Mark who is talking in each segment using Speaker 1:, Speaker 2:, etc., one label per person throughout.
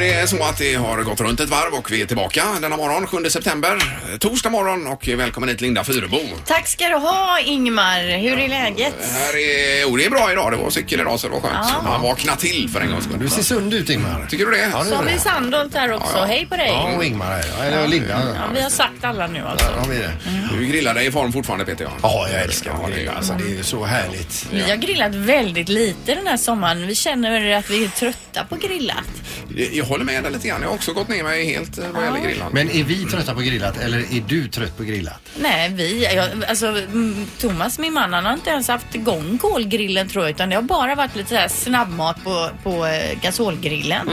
Speaker 1: det så att det har gått runt ett varv och vi är tillbaka denna morgon 7 september, eh, torsdag morgon och välkommen hit Linda Fyrebo.
Speaker 2: Tack ska du ha Ingmar. Hur är läget?
Speaker 1: Det här är, oh, det är bra idag, det var cykel idag så det var skönt.
Speaker 2: Ja.
Speaker 1: Man vaknar till för en gångs skull.
Speaker 3: Du ser sund ut Ingmar.
Speaker 1: Tycker du det?
Speaker 3: Ja, det gör
Speaker 2: Som i
Speaker 3: det.
Speaker 2: Sandholt här också.
Speaker 1: Ja, ja.
Speaker 2: Hej på dig.
Speaker 3: Ja,
Speaker 2: Ja,
Speaker 3: och Ingmar är jag. Eller Linda.
Speaker 2: vi har sagt alla nu alltså.
Speaker 3: Där har vi det.
Speaker 1: Du grillar dig i form fortfarande Peter ja.
Speaker 3: Ja, jag älskar
Speaker 1: det.
Speaker 3: det. Alltså, det är ju så härligt.
Speaker 2: Vi har grillat väldigt lite den här sommaren. Vi känner att vi är trötta på grillat.
Speaker 1: Jag- Jag håller med dig lite grann. Jag har också gått ner mig helt eh, vad gäller grillan.
Speaker 3: Men är vi trötta på grillat eller är du trött på grillat?
Speaker 2: Nej, vi, jag, alltså mm, Thomas, min man, han har inte ens haft igång kolgrillen tror jag, utan det har bara varit lite så här snabbmat på, på eh, gasolgrillen.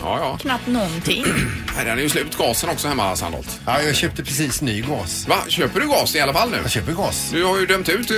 Speaker 1: Ja, ja.
Speaker 2: Knappt någonting.
Speaker 1: Nej, Den är ju slut gasen också hemma Sandholt.
Speaker 3: Ja, jag köpte precis ny gas.
Speaker 1: Va? Köper du gas i alla fall nu?
Speaker 3: Jag köper gas.
Speaker 1: Du har ju dömt ut eh,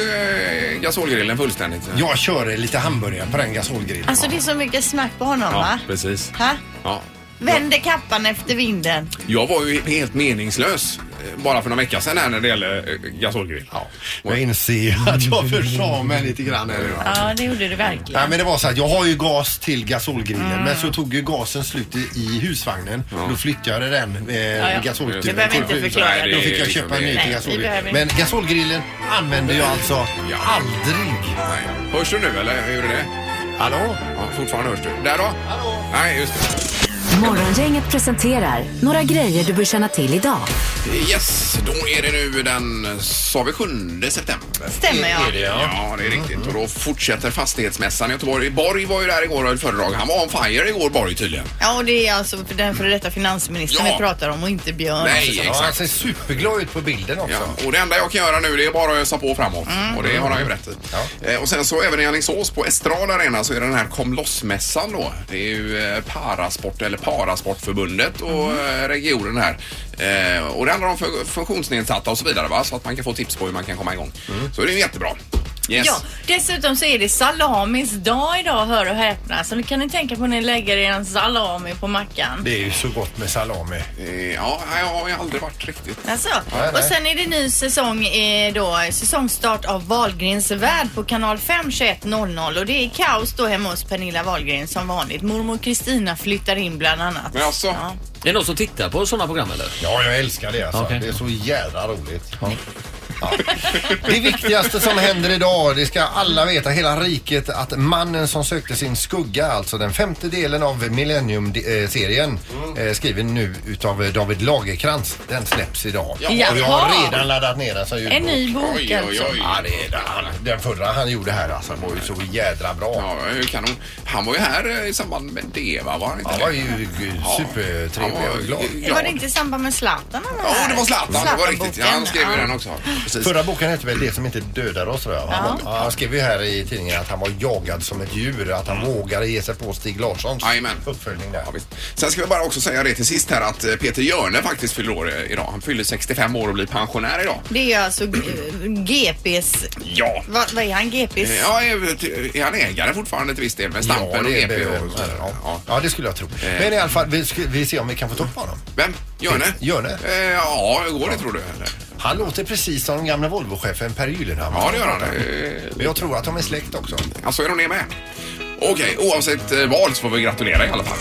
Speaker 1: gasolgrillen fullständigt.
Speaker 3: Jag kör lite hamburgare på den gasolgrillen.
Speaker 2: Alltså det är så mycket snack på honom
Speaker 1: Ja,
Speaker 2: va?
Speaker 1: precis.
Speaker 2: Ha?
Speaker 1: Ja.
Speaker 2: Vänder kappan efter vinden.
Speaker 1: Jag var ju helt meningslös eh, bara för några veckor sedan här när det gäller eh, gasolgrill.
Speaker 3: Ja, jag inser ju att jag försade mig lite grann här nu. va?
Speaker 2: Ja, det gjorde det verkligen.
Speaker 3: Nej men det var så att jag har ju gas till gasolgrillen men så tog ju gasen slut i, i husvagnen. Då flyttade jag den eh,
Speaker 2: ja.
Speaker 3: gasolgrillen.
Speaker 1: Det
Speaker 2: behöver vi inte
Speaker 3: till
Speaker 2: förklara.
Speaker 3: huset.
Speaker 1: Nej, det
Speaker 3: Då
Speaker 1: är
Speaker 3: fick jag
Speaker 1: liksom
Speaker 3: köpa en
Speaker 1: det.
Speaker 3: ny till
Speaker 2: Nej, vi
Speaker 3: gasolgrillen.
Speaker 2: behöver
Speaker 3: Men gasolgrillen använder jag alltså
Speaker 1: Ja.
Speaker 3: aldrig.
Speaker 1: Nej. Hörs du nu eller hur är det?
Speaker 3: Hallå?
Speaker 1: Ja, fortfarande hörs du. Där då? Hallå? Nej, just det.
Speaker 4: Morgongänget presenterar några grejer du bör känna till idag.
Speaker 1: Yes, då är det nu den, eh, sa vi 7 september?
Speaker 2: Stämmer ja.
Speaker 1: Ja, det är riktigt. Och då fortsätter fastighetsmässan i Göteborg. Borg var ju där igår och höll föredrag. Han var on fire igår, Borg tydligen.
Speaker 2: Ja, och det är alltså för den före detta finansministern
Speaker 1: Ja.
Speaker 2: vi pratar om och inte Björn.
Speaker 1: Nej,
Speaker 3: Ja, han
Speaker 1: exakt.
Speaker 3: ser superglad ut på bilden också.
Speaker 1: Ja, och det enda jag kan göra nu det är bara att ösa på framåt. Och det har han ju rätt i.
Speaker 3: Mm. Ja.
Speaker 1: Eh, och sen så även i Alingsås på Estrad Arena så är det den här Kom loss-mässan då. Det är ju eh, Parasport eller Parasportförbundet och
Speaker 3: Mm.
Speaker 1: eh, regionen här. Eh, och det handlar om fun- funktionsnedsatta och så vidare va? Så att man kan få tips på hur man kan komma igång.
Speaker 3: Mm.
Speaker 1: Så det är ju jättebra. Yes.
Speaker 2: Ja, dessutom så är det salamis dag idag, hör och häpna. Så nu kan ni tänka på när ni lägger er en salami på mackan.
Speaker 3: Det är ju så gott med salami.
Speaker 1: Eh, ja, jag har aldrig varit riktigt.
Speaker 2: Alltså,
Speaker 3: nej.
Speaker 2: och sen är det ny säsong eh, då, säsongstart av Wahlgrens värld på kanal 5 21.00 och det är kaos då hemma hos Pernilla Wahlgren som vanligt. Mormor Kristina flyttar in bland annat.
Speaker 1: Men alltså,
Speaker 2: Ja.
Speaker 5: Är det någon som tittar på sådana program eller?
Speaker 3: Ja, jag älskar det alltså.
Speaker 5: Okej.
Speaker 3: Det är så jävla roligt. Ja. Det viktigaste som händer idag, det ska alla veta, hela riket, att mannen som sökte sin skugga, alltså den femte delen av Millennium-serien,
Speaker 2: Mm.
Speaker 3: eh, skriven nu utav eh, David Lagerkrans, den släpps idag. Och jag har
Speaker 2: Jaha.
Speaker 3: redan laddat ner den som ljudbok.
Speaker 2: En ny bok
Speaker 1: oj, oj,
Speaker 2: alltså.
Speaker 1: oj.
Speaker 3: Ja, det är den. den förra han gjorde här alltså, var ju så jädra bra.
Speaker 1: Ja, det är ju kanon. Han var ju här eh, i samband med det, va? Var han inte
Speaker 3: Han var
Speaker 1: det?
Speaker 3: ju gud,
Speaker 1: Ja.
Speaker 3: supertrevlig
Speaker 1: Han var
Speaker 3: och glad.
Speaker 1: ju
Speaker 2: Var
Speaker 1: glad.
Speaker 2: det inte i samband med Zlatan han var
Speaker 1: Ja,
Speaker 2: här?
Speaker 1: det var Zlatan. Det var riktigt. Ja, han skrev ju
Speaker 2: Zlatanboken, ja.
Speaker 1: den också. Precis.
Speaker 3: Förra boken hette väl Det som inte dödar oss tror jag. Han,
Speaker 2: Ja.
Speaker 3: var, han skrev ju här i tidningen att han var jagad som ett djur. Att han vågade ge sig på Stig Larssons
Speaker 1: Mm. Jajamän.
Speaker 3: uppföljning där.
Speaker 1: Ja, visst. Sen ska vi bara också säga det till sist här att eh, Peter Hjörne faktiskt fyller år eh, idag. Han fyller 65 år och blir pensionär idag.
Speaker 2: Det är alltså eh, GPs...
Speaker 1: Ja.
Speaker 2: Vad, vad är han? GPs?
Speaker 1: Eh, Ja, är, är han ägare fortfarande till viss del med Stampen och
Speaker 3: det-
Speaker 1: GP och
Speaker 3: det-
Speaker 1: sådär?
Speaker 3: ja.
Speaker 1: Ja. Eh.
Speaker 3: ja, det skulle jag tro. Men i alla fall, vi, ska, vi ser om vi kan få tag på honom.
Speaker 1: Vem? Hjörne?
Speaker 3: Hjörne?
Speaker 1: Eh, Ja, hur går det tror du?
Speaker 3: Han låter precis som den gamla Volvochefen Per Gyllenhammar.
Speaker 1: Ja, det gör han. Eh,
Speaker 3: Men jag tror att de är släkt också.
Speaker 1: Alltså, är de det med? Okej, oavsett eh, val så får vi gratulera i alla fall.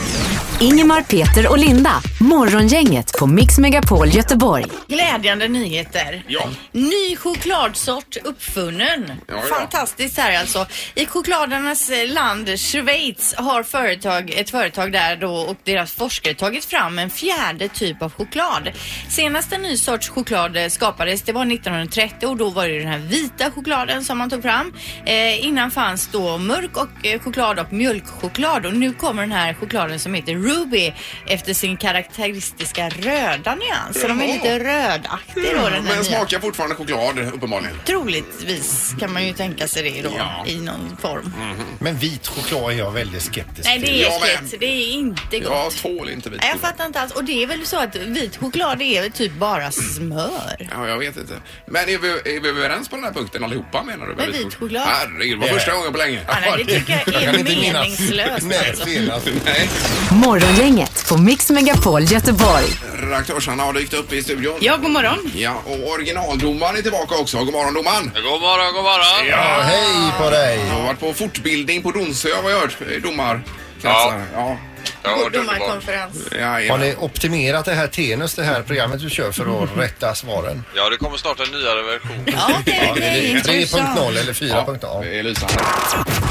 Speaker 4: Ingemar, Peter och Linda. Morgongänget på Mix Megapol Göteborg.
Speaker 2: Glädjande nyheter.
Speaker 1: Ja.
Speaker 2: Ny chokladsort uppfunnen.
Speaker 1: Ja, ja.
Speaker 2: Fantastiskt här alltså. I chokladernas eh, land Schweiz har företag, ett företag där då och deras forskare tagit fram en fjärde typ av choklad. Senast en ny sorts choklad eh, skapades det var 1930 och då var det den här vita chokladen som man tog fram. Eh, innan fanns då mörk och, eh, choklad och mjölkchoklad och nu kommer den här chokladen som heter Ruby efter sin karaktäristiska röda nyans. Så de är
Speaker 1: Jaha.
Speaker 2: lite rödaktig då den här
Speaker 1: Mm, Men
Speaker 2: nya.
Speaker 1: smakar fortfarande choklad, uppenbarligen.
Speaker 2: Troligtvis kan man ju tänka sig det då
Speaker 1: Ja.
Speaker 2: i någon form.
Speaker 3: Men vit choklad är jag väldigt skeptisk
Speaker 2: Nej
Speaker 3: till.
Speaker 2: det är
Speaker 1: Ja, men-
Speaker 2: äckligt. Det är inte gott.
Speaker 1: Jag tål inte vit
Speaker 2: Nej, jag fattar inte alls. Och det är väl så att vit choklad är väl typ bara smör.
Speaker 1: Ja, jag vet inte. Men är vi, är vi överens på den här punkten allihopa menar du?
Speaker 2: Med vit choklad?
Speaker 1: Herregud, det var första gången på länge.
Speaker 2: Ja, nej, det tycker jag
Speaker 3: kan
Speaker 2: är
Speaker 3: inte minnas.
Speaker 2: meningslöst.
Speaker 3: Nej,
Speaker 2: alltså.
Speaker 3: senast.
Speaker 1: Nej.
Speaker 4: Morgongänget på Mix Megapol Göteborg.
Speaker 1: Redaktörsarna har dykt upp i studion.
Speaker 6: Ja, god morgon.
Speaker 1: Ja, och originaldomaren är tillbaka också. God morgon domaren!
Speaker 7: God morgon, god morgon.
Speaker 3: Ja, hej på dig!
Speaker 1: Jag har varit på fortbildning på Donsö har jag hört, eh, domarkretsar. Ja.
Speaker 6: Ja,
Speaker 2: God
Speaker 6: det är underbart.
Speaker 2: domarkonferens.
Speaker 1: Ja,
Speaker 3: Har
Speaker 1: ja.
Speaker 3: ni optimerat det här tenus, det här programmet du kör för att rätta svaren?
Speaker 6: Ja, det kommer snart en nyare version.
Speaker 2: Ja, okej, okej. intressant.
Speaker 3: 3.0 eller
Speaker 1: ja,
Speaker 3: 4.0?
Speaker 1: det är lysande.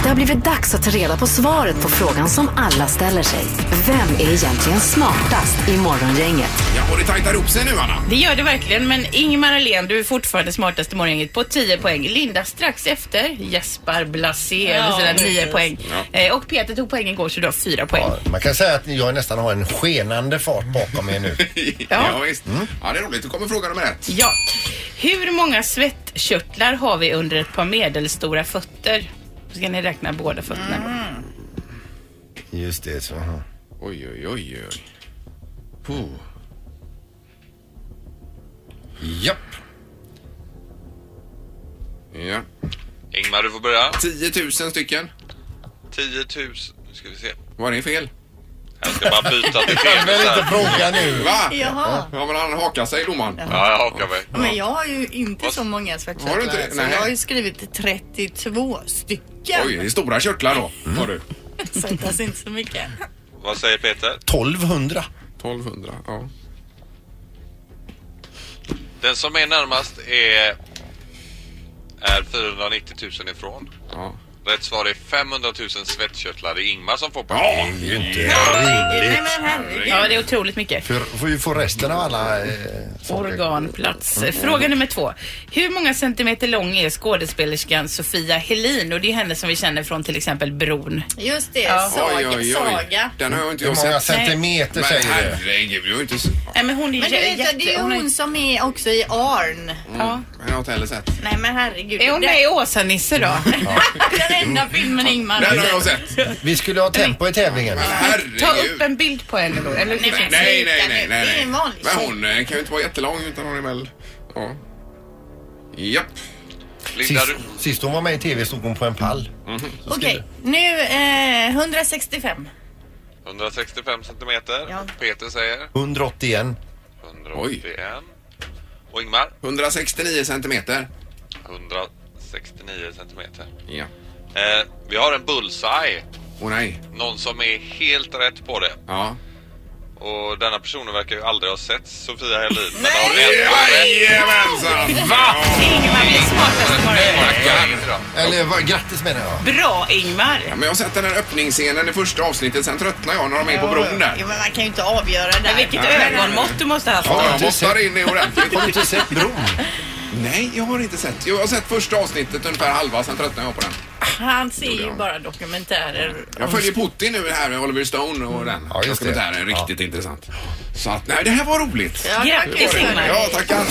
Speaker 4: Det har blivit dags att ta reda på svaret på frågan som alla ställer sig. Vem är egentligen smartast i Morgongänget?
Speaker 1: Ja, och det tajtar ihop sig nu, Anna.
Speaker 7: Det gör det verkligen, men Ingemar Ahlén, du är fortfarande smartast i morgongänget på 10 poäng. Linda strax efter, Jesper Blasé med sina 9 poäng. Eh, Och Peter tog poäng igår så du har 4 poäng.
Speaker 3: Ja, man kan säga att jag nästan har en skenande fart bakom er nu.
Speaker 1: Ja, visst.
Speaker 3: Mm.
Speaker 1: Ja, det är roligt. Då kommer fråga nummer ett.
Speaker 7: Ja. Hur många svettkörtlar har vi under ett par medelstora fötter? Så ska ni räkna båda fötterna.
Speaker 2: Mm,
Speaker 3: Just det. Så. aha.
Speaker 1: Oj, oj, oj, oj. Puh.
Speaker 3: Japp.
Speaker 1: Ja.
Speaker 6: Ingmar, du får börja.
Speaker 1: 10 000 stycken.
Speaker 6: 10 000. Nu ska vi se.
Speaker 1: Var det fel?
Speaker 6: Jag ska bara byta till
Speaker 3: Jag
Speaker 6: fel
Speaker 3: vill inte
Speaker 6: här.
Speaker 3: fråga nu.
Speaker 1: Va?
Speaker 2: Jaha.
Speaker 1: Ja, men han hakar sig, domaren.
Speaker 6: Ja, jag hakar mig.
Speaker 2: Men jag har ju inte
Speaker 6: Vad-
Speaker 2: så många
Speaker 1: Har du inte det?
Speaker 2: svettkörtlar. Så
Speaker 1: Nej.
Speaker 2: jag har ju skrivit 32 stycken.
Speaker 1: Oj, det är stora körtlar då,
Speaker 2: Mm.
Speaker 1: har du.
Speaker 2: Så det är inte så mycket.
Speaker 6: Vad säger Peter?
Speaker 3: 1200.
Speaker 1: 1200, ja.
Speaker 6: Den som är närmast är, är 490 000 ifrån.
Speaker 1: ja.
Speaker 6: Rätt svar är 500 000 svettkörtlar. Det är Ingmar som får poäng.
Speaker 1: Ja,
Speaker 3: Det är ju inte rimligt.
Speaker 7: Ja, det är otroligt mycket.
Speaker 3: För får ju få resten av alla eh, saker.
Speaker 7: Organplats. Fråga nummer två. Hur många centimeter lång är skådespelerskan Sofia Helin? Och det är henne som vi känner från till exempel Bron.
Speaker 2: Just det,
Speaker 7: Ja.
Speaker 1: Oj,
Speaker 2: saga.
Speaker 1: oj, oj.
Speaker 2: saga.
Speaker 1: Den har jag inte
Speaker 3: Hur
Speaker 1: jag
Speaker 3: många
Speaker 1: sett.
Speaker 3: centimeter
Speaker 1: Men
Speaker 3: säger du?
Speaker 1: herregud, jag har ju inte s-
Speaker 7: Nej, men hon är
Speaker 2: Men du vet att det är
Speaker 7: hon är-
Speaker 2: hon som är också i Arn.
Speaker 7: ja.
Speaker 1: jag har inte heller sett.
Speaker 2: Nej men herregud.
Speaker 7: Är hon med i Åsa-Nisse då?
Speaker 2: Den enda filmen Ingmar
Speaker 1: Den har jag sett.
Speaker 3: Vi skulle ha tempo i tävlingen.
Speaker 1: Men
Speaker 7: Ta upp
Speaker 1: herregud.
Speaker 7: en bild på henne då. Eller,
Speaker 2: Nej, men-
Speaker 1: Nej, nej,
Speaker 2: Sluta
Speaker 1: nej,
Speaker 2: nu. Det är
Speaker 1: nej.
Speaker 2: en
Speaker 1: nej.
Speaker 2: vanlig
Speaker 1: Men
Speaker 2: tjej.
Speaker 1: hon eh, kan ju inte vara jättelång utan hon är väl... Ja. Japp.
Speaker 6: Linda,
Speaker 3: Sist,
Speaker 6: du,
Speaker 3: sist hon var med i TV stod hon på en pall. Så skulle-
Speaker 2: Okej, nu eh, 165.
Speaker 6: 165 centimeter.
Speaker 2: Ja.
Speaker 6: Peter säger
Speaker 3: 181.
Speaker 6: 181. Och Ingmar
Speaker 1: 169 centimeter.
Speaker 6: 169 centimeter.
Speaker 1: Ja.
Speaker 6: Eh, vi har en bullseye.
Speaker 1: Åh nej.
Speaker 6: Någon som är helt rätt på det.
Speaker 1: Ja.
Speaker 6: Och denna personen verkar ju aldrig ha sett Sofia Helin. Men har ändå rätt.
Speaker 1: Jajamensan! Va?
Speaker 7: Ingmar blir smartast i morgon.
Speaker 6: Tackar.
Speaker 3: Eller vad- grattis menar jag.
Speaker 7: Bra Ingmar!
Speaker 1: Men jag har sett den här öppningsscenen i första avsnittet, sen tröttnar jag när de är på bron
Speaker 2: Ja,
Speaker 1: där.
Speaker 2: men man kan ju inte avgöra
Speaker 7: Men
Speaker 2: där.
Speaker 7: vilket
Speaker 1: Nej.
Speaker 7: ögonmått du måste ha haft.
Speaker 1: Ja, jag
Speaker 3: inte
Speaker 1: måttar
Speaker 3: sett.
Speaker 1: in i ordentligt.
Speaker 3: Har du inte sett Bron?
Speaker 1: Nej, jag har inte sett. Jo, Jag har sett första avsnittet ungefär halva, sen tröttnar jag på den.
Speaker 2: Han ser ju bara dokumentärer.
Speaker 1: Jag följer Putin nu här med Oliver Stone och den
Speaker 3: Ja, just det.
Speaker 1: dokumentären. Riktigt intressant. Så att, nej, det här var roligt.
Speaker 2: Ja,
Speaker 7: Grattis
Speaker 2: tack.
Speaker 7: Ingmar!
Speaker 1: Ja, tackar.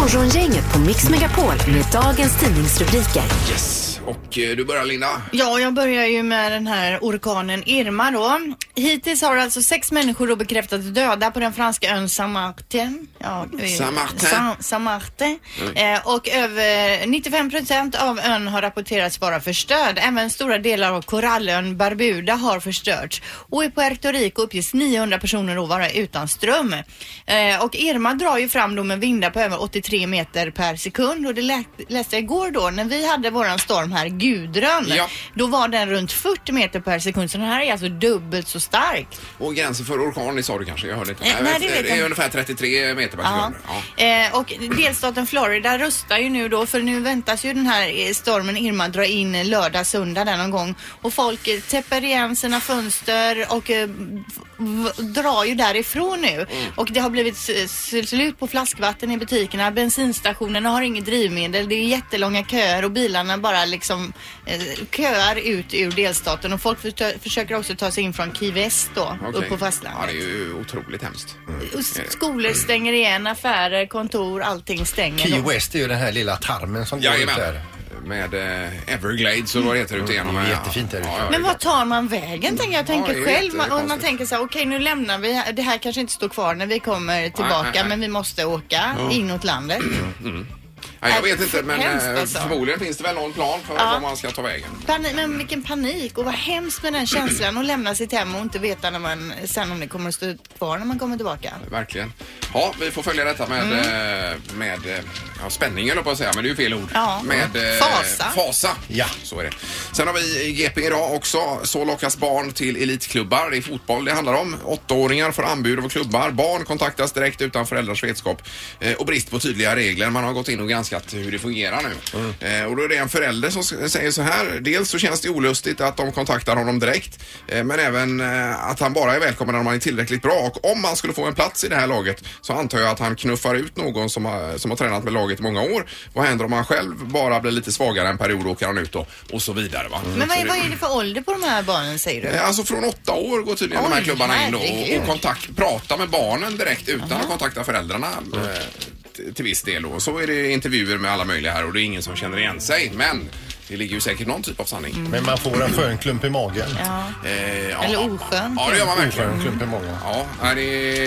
Speaker 4: Morgongänget på Mix Megapol med dagens tidningsrubriker.
Speaker 1: Yes. Och eh, du börjar Linda.
Speaker 2: Ja, jag börjar ju med den här orkanen Irma då. Hittills har alltså sex människor då bekräftats döda på den franska ön Saint-Martin. Ja, eh,
Speaker 1: Saint-Martin.
Speaker 2: Saint- Saint-Martin. Eh, och över 95 procent av ön har rapporterats vara förstörd. Även stora delar av korallön Barbuda har förstörts. Och i Puerto Rico uppges 900 personer då vara utan ström. Eh, och Irma drar ju fram då med vindar på över 83 meter per sekund. Och det lä- läste jag igår då när vi hade våran storm här, Gudrun.
Speaker 1: Ja.
Speaker 2: Då var den runt 40 meter per sekund. Så den här är alltså dubbelt så stark.
Speaker 1: Och gränsen för orkan sa du kanske? Jag hörde inte.
Speaker 2: Eh, Nej, nej, det vet
Speaker 1: det
Speaker 2: jag
Speaker 1: är
Speaker 2: inte.
Speaker 1: ungefär 33 meter per
Speaker 2: Ja.
Speaker 1: sekund. Ja.
Speaker 2: Eh, och delstaten Florida rustar ju nu då för nu väntas ju den här eh, stormen Irma dra in eh, lördag, söndag där någon gång. Och folk eh, täpper igen sina fönster och eh, v- v- drar ju därifrån nu.
Speaker 1: Mm.
Speaker 2: Och det har blivit s- s- slut på flaskvatten i butikerna. Bensinstationerna har inget drivmedel. Det är jättelånga köer och bilarna bara liksom eh, köar ut ur delstaten. Och folk förtö- försöker också ta sig in från Key West då,
Speaker 1: Okej.
Speaker 2: upp på fastlandet.
Speaker 1: Ja, det är ju otroligt hemskt.
Speaker 3: Mm,
Speaker 2: Och Skolor stänger igen, affärer, kontor, allting stänger.
Speaker 3: Key
Speaker 2: då.
Speaker 3: West är ju den här lilla tarmen som går ut
Speaker 1: Jajamän.
Speaker 3: där.
Speaker 1: Med eh, Everglades och vad det heter ute igenom.
Speaker 3: Mm, det är
Speaker 1: här,
Speaker 3: jättefint där ute.
Speaker 1: ja, det är
Speaker 2: Men vad tar man vägen tänker jag? Jag tänker
Speaker 1: Ja, det är
Speaker 2: själv man, och man
Speaker 1: jättekonstigt.
Speaker 2: tänker så här, okej nu lämnar vi, det här kanske inte står kvar när vi kommer tillbaka
Speaker 1: nej, nej.
Speaker 2: men vi måste åka inåt landet.
Speaker 1: Ja, jag vet inte men
Speaker 2: Hemskt,
Speaker 1: eh,
Speaker 2: alltså.
Speaker 1: förmodligen finns det väl någon plan för
Speaker 2: Ja.
Speaker 1: var man ska ta vägen.
Speaker 2: Pani- men vilken panik och vad hemskt med den känslan att lämna sitt hem och inte veta när man, sen om det kommer att stå kvar när man kommer tillbaka.
Speaker 1: Verkligen. Ja, vi får följa detta
Speaker 2: Mm.
Speaker 1: med, eh, med eh, ja, spänning höll jag på att säga, men det är ju fel ord.
Speaker 2: Ja.
Speaker 1: Med eh,
Speaker 2: Fasa.
Speaker 1: fasa.
Speaker 3: Ja.
Speaker 1: Så är det. Sen har vi i GP idag också. Så lockas barn till elitklubbar. Det är fotboll det handlar om. Åttaåringar får anbud av klubbar. Barn kontaktas direkt utan föräldrars vetskap. Eh, och brist på tydliga regler. Man har gått in och granskat hur det fungerar nu. Eh, och då är det en förälder som s- säger så här. Dels så känns det olustigt att de kontaktar honom direkt. Eh, men även eh, att han bara är välkommen när man är tillräckligt bra. Och om han skulle få en plats i det här laget så antar jag att han knuffar ut någon som har, som har tränat med laget i många år. Vad händer om han själv bara blir lite svagare en period åker han ut då? Och så vidare va.
Speaker 2: Men vad
Speaker 1: Så
Speaker 2: är, vad är det för ålder på de här barnen säger du?
Speaker 1: Eh, Alltså från åtta år går tydligen de här
Speaker 2: Oj,
Speaker 1: klubbarna in då och,
Speaker 2: herregud.
Speaker 1: och kontakt, prata med barnen direkt utan att kontakta föräldrarna. eh, t- Till viss del då. Och Så är det intervjuer med alla möjliga här och det är ingen som känner igen sig. Men det ligger ju säkert någon typ av sanning.
Speaker 2: Mm.
Speaker 3: Men man får en skön klump i magen.
Speaker 1: Eh, ja.
Speaker 2: Eller oskön.
Speaker 1: Ja, det gör man verkligen.
Speaker 3: Skön klump i magen.
Speaker 1: Ja, nej,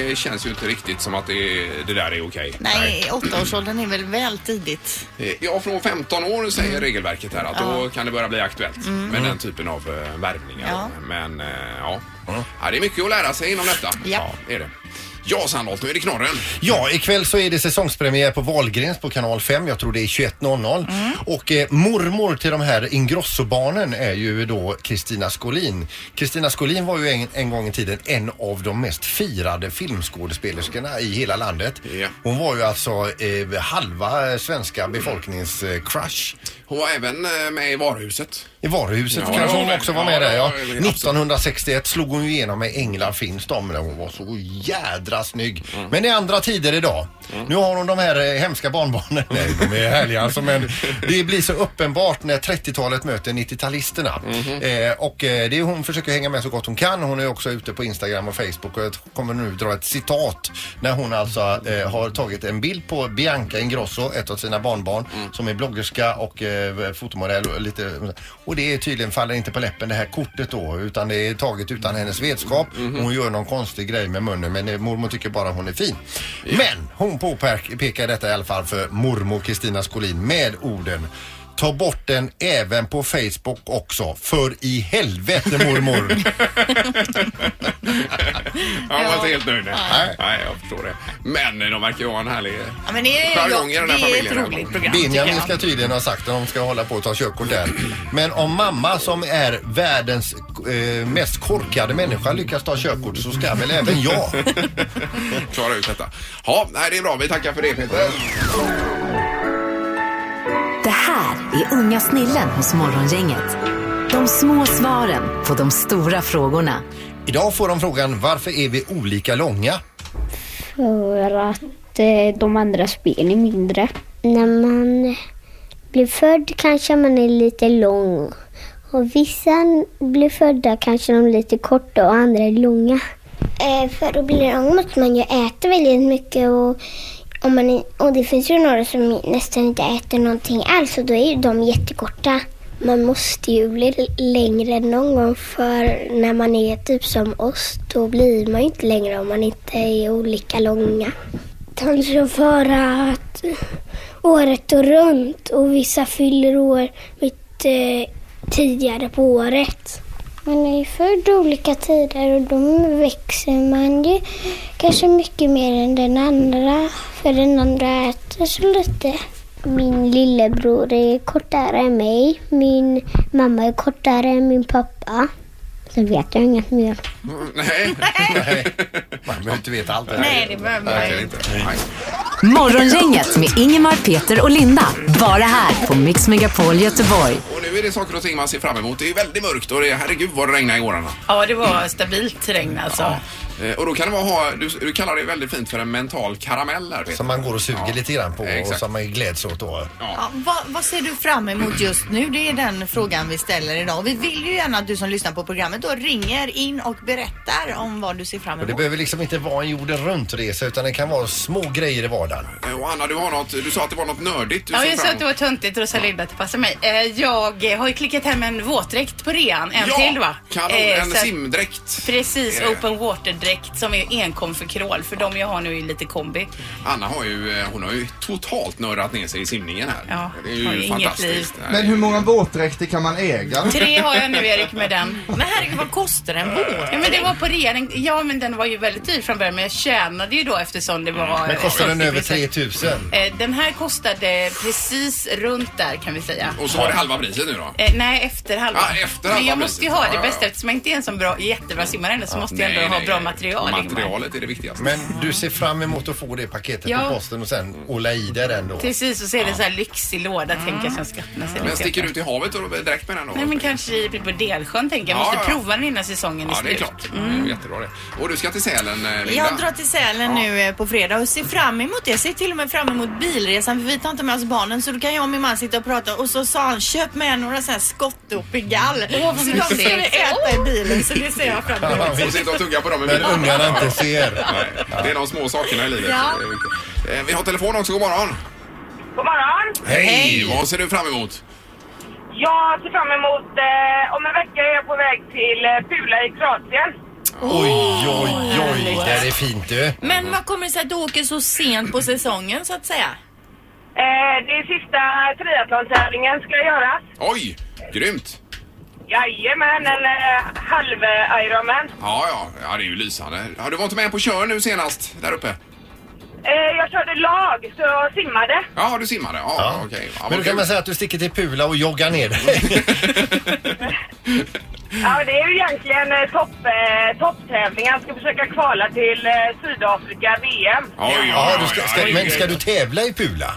Speaker 1: det känns ju inte riktigt som att det, det där är okej.
Speaker 2: Nej, åttaårsåldern är väl väl tidigt.
Speaker 1: Eh, Ja, från 15 år säger
Speaker 2: Mm.
Speaker 1: regelverket här att då kan det börja bli aktuellt med den typen av eh, värvningar.
Speaker 2: Ja.
Speaker 1: Men eh, ja. ja, det är mycket att lära sig inom detta.
Speaker 2: Ja.
Speaker 1: det är det. Ja, Sandholt, nu är det knorren.
Speaker 3: Ja, ikväll så är det säsongspremiär på Wahlgrens på kanal 5. Jag tror det är 21.00. Och eh, mormor till de här Ingrosso-barnen är ju då Kristina Skolin. Kristina Skolin var ju en, en gång i tiden en av de mest firade filmskådespelerskorna i hela landet.
Speaker 1: Ja.
Speaker 3: Hon var ju alltså eh, halva eh, svenska befolknings eh, crush.
Speaker 1: Hon var även eh, med i varuhuset.
Speaker 3: I varuhuset
Speaker 1: Ja,
Speaker 3: kanske hon
Speaker 1: ja,
Speaker 3: också
Speaker 1: ja,
Speaker 3: var med
Speaker 1: ja,
Speaker 3: där ja.
Speaker 1: ja, ja, absolut.
Speaker 3: 1961 slog hon ju igenom med Änglar finns de. Där hon var så jädra snygg. Men det är andra tider idag.
Speaker 1: Mm.
Speaker 3: Nu har hon de här eh, hemska barnbarnen. Nej, de är härliga alltså men det blir så uppenbart när 30-talet möter 90-talisterna.
Speaker 1: Mhm.
Speaker 3: Eh, och eh, det är hon försöker hänga med så gott hon kan. Hon är också ute på Instagram och Facebook och jag kommer nu dra ett citat när hon alltså eh, har tagit en bild på Bianca Ingrosso, ett av sina barnbarn som är bloggerska och eh, fotomodell och lite och det är tydligen faller inte på läppen det här kortet då utan det är taget utan hennes vetskap. Hon gör någon konstig grej med munnen men eh, mormor tycker bara hon är fin. Men hon påpekar detta i alla fall för mormor Kristina Skolin med orden Ta bort den även på Facebook också. För i helvete mormor.
Speaker 1: Ja, jag var inte helt nöjd.
Speaker 3: Nej.
Speaker 1: Nej, jag förstår det. Men eh, de verkar ju ha en härlig... eh,
Speaker 2: Ja, men det är,
Speaker 1: Jargong i den här
Speaker 2: det är ett
Speaker 1: familjen.
Speaker 2: roligt program tycker
Speaker 3: Benjamin
Speaker 2: jag.
Speaker 3: ska tydligen ha sagt att de ska hålla på och ta körkort där. Men om mamma som är världens eh, mest korkade människa lyckas ta körkort så ska väl även jag.
Speaker 1: Klara ut detta. Ja, nej, det är bra. Vi tackar för det Peter.
Speaker 4: Det här är unga snillen hos Morgongänget. De små svaren på de stora frågorna.
Speaker 3: Idag får de frågan varför är vi olika långa?
Speaker 8: För att eh, de andra spelen är mindre. När man blir född kanske man är lite lång. Och vissa blir födda kanske de är lite korta och andra är långa. Eh, för att bli lång måste man ju äta väldigt mycket och, om man är, och det finns ju några som nästan inte äter någonting alls och då är ju de jättekorta. Man måste ju bli l- längre någon gång för när man är typ som oss då blir man ju inte längre om man inte är olika långa. Kanske för att året och runt och vissa fyller år lite tidigare på året. Man är ju född olika tider och då växer man ju kanske mycket mer än den andra för den andra äter så lite. Min lillebror är kortare än mig. Min mamma är kortare än min pappa. Sen vet jag inget mer.
Speaker 1: Mm, Nej,
Speaker 3: Nej, man behöver inte veta allt det här.
Speaker 2: Nej, det behöver man
Speaker 1: verkligen
Speaker 2: inte.
Speaker 1: inte. Nej.
Speaker 4: Morgongänget med Ingemar, Peter och Linda. Bara här på Mix Megapol Göteborg.
Speaker 1: Och nu är det saker och ting man ser fram emot. Det är väldigt mörkt och det är, herregud vad det regnade igår Anna.
Speaker 7: Ja, det var stabilt regn alltså.
Speaker 1: Eh, Och då kan det vara, ha- du, du kallar det väldigt fint för en mental karamell där Peter.
Speaker 3: Som man går och suger
Speaker 1: Ja,
Speaker 3: lite grann på och
Speaker 1: exakt.
Speaker 3: som man gläds åt då.
Speaker 2: Ja, vad, vad ser du fram emot just nu? Det är den frågan vi ställer idag. Vi vill ju gärna att du som lyssnar på programmet programmet då ringer in och berättar om vad du ser fram
Speaker 3: Och det
Speaker 2: emot.
Speaker 3: behöver liksom inte vara en jorden runt-resa utan det kan vara små grejer i vardagen.
Speaker 1: Eh, Och Anna, du, har något, du sa att det var något nördigt du
Speaker 7: Ja,
Speaker 1: såg
Speaker 7: jag sa
Speaker 1: fram
Speaker 7: att det var töntigt Rosalind att det passar mig. Eh, Jag eh, har ju klickat hem en våtdräkt på rean. En
Speaker 1: ja,
Speaker 7: till va?
Speaker 1: Kanon,
Speaker 7: Eh,
Speaker 1: en
Speaker 7: så att-
Speaker 1: simdräkt. Eh,
Speaker 7: Precis,
Speaker 1: Är det.
Speaker 7: open water-dräkt som är enkom för krål. För de jag har nu är lite kombi.
Speaker 1: Anna har ju, eh, hon har ju totalt nördat ner sig i simningen här.
Speaker 7: Ja, har ju inget liv.
Speaker 1: Nej,
Speaker 9: Men hur många våtdräkter kan man äga?
Speaker 7: Tre har jag nu Erik med den.
Speaker 2: Men herregud, vad kostar en båt?
Speaker 7: Ja men det var på rean. Ja men den var ju väldigt dyr från början men jag tjänade ju då eftersom det var...
Speaker 3: Men kostar den över
Speaker 7: 30
Speaker 3: 3000?
Speaker 7: Eh, Den här kostade precis runt där kan vi säga.
Speaker 1: Och så var det halva priset nu då.
Speaker 7: Eh, nej, efter halva.
Speaker 1: Ah, efter halva
Speaker 7: men jag måste ju
Speaker 1: priset.
Speaker 7: ha
Speaker 1: Ja,
Speaker 7: det
Speaker 1: ja,
Speaker 7: bästa
Speaker 1: ja.
Speaker 7: eftersom jag inte är en sån bra, jättebra simmare ändå så måste jag ändå
Speaker 1: Nej,
Speaker 7: ha
Speaker 1: nej,
Speaker 7: bra
Speaker 1: nej.
Speaker 7: material. Ingmar.
Speaker 1: Materialet är det viktigaste.
Speaker 3: Men du ser fram emot att få det paketet
Speaker 7: Ja.
Speaker 3: på posten och sen åla i det den då?
Speaker 7: Precis, och så är det en sån här lyxig låda tänker jag som ska öppna
Speaker 1: Mm.
Speaker 7: sig.
Speaker 1: Men
Speaker 7: lite.
Speaker 1: sticker du ut i havet och direkt med den då?
Speaker 7: Nej men kanske i på Delsjön tänker jag.
Speaker 1: Ja,
Speaker 7: Måste
Speaker 1: ja.
Speaker 7: prova den innan säsongen
Speaker 1: Ja,
Speaker 7: är
Speaker 1: det är
Speaker 7: slut.
Speaker 1: klart. Det är jättebra det. Och du ska till Sälen, eh, Linda?
Speaker 2: Jag drar till Sälen nu eh, på fredag och ser fram emot det. Jag ser till och med fram emot bilresan för vi tar inte med oss barnen så då kan jag och min man sitta och prata och så sa han köp med några sådana här skottdop i gall.
Speaker 7: vad
Speaker 2: så de ska
Speaker 7: mysigt.
Speaker 2: vi äta i bilen så det ser jag fram emot.
Speaker 1: Och sitta och tugga på dem i
Speaker 3: När
Speaker 1: bilen.
Speaker 3: ungarna inte ser.
Speaker 1: Nej, det är de små sakerna i livet.
Speaker 2: Ja.
Speaker 1: Det är viktigt. Eh, Vi har telefon också, god morgon.
Speaker 10: God morgon!
Speaker 1: Hej! Vad ser du fram emot?
Speaker 10: Jag ser fram emot... Eh, om en vecka är jag på väg till eh, Pula i Kroatien.
Speaker 3: Oj, oj, oj. Det här är fint du.
Speaker 2: Men vad kommer det sig att du åker så sent på säsongen så att säga?
Speaker 10: Eh, det är sista triathlon-tävlingen ska göras.
Speaker 1: Oj, grymt!
Speaker 10: Jajamän, en eh, halv eh, Ironman.
Speaker 1: Ja, ja, ja, det är ju lysande. Ja, du var inte med på kör nu senast där uppe?
Speaker 10: Eh, jag körde lag, så jag simmade.
Speaker 1: Ja, du simmade. Ja, okej. Ja,
Speaker 3: Men
Speaker 1: vad
Speaker 3: då
Speaker 1: kul.
Speaker 3: kan man säga att du sticker till Pula och joggar ner dig.
Speaker 10: Ja, det är ju egentligen eh, topp, eh, topptävlingen. Jag ska försöka kvala till eh, Sydafrika VM.
Speaker 1: Oj, oj, oj,
Speaker 3: Ja, du ska, ska,
Speaker 1: oj, oj,
Speaker 3: men ska
Speaker 1: oj.
Speaker 3: du tävla i Pula?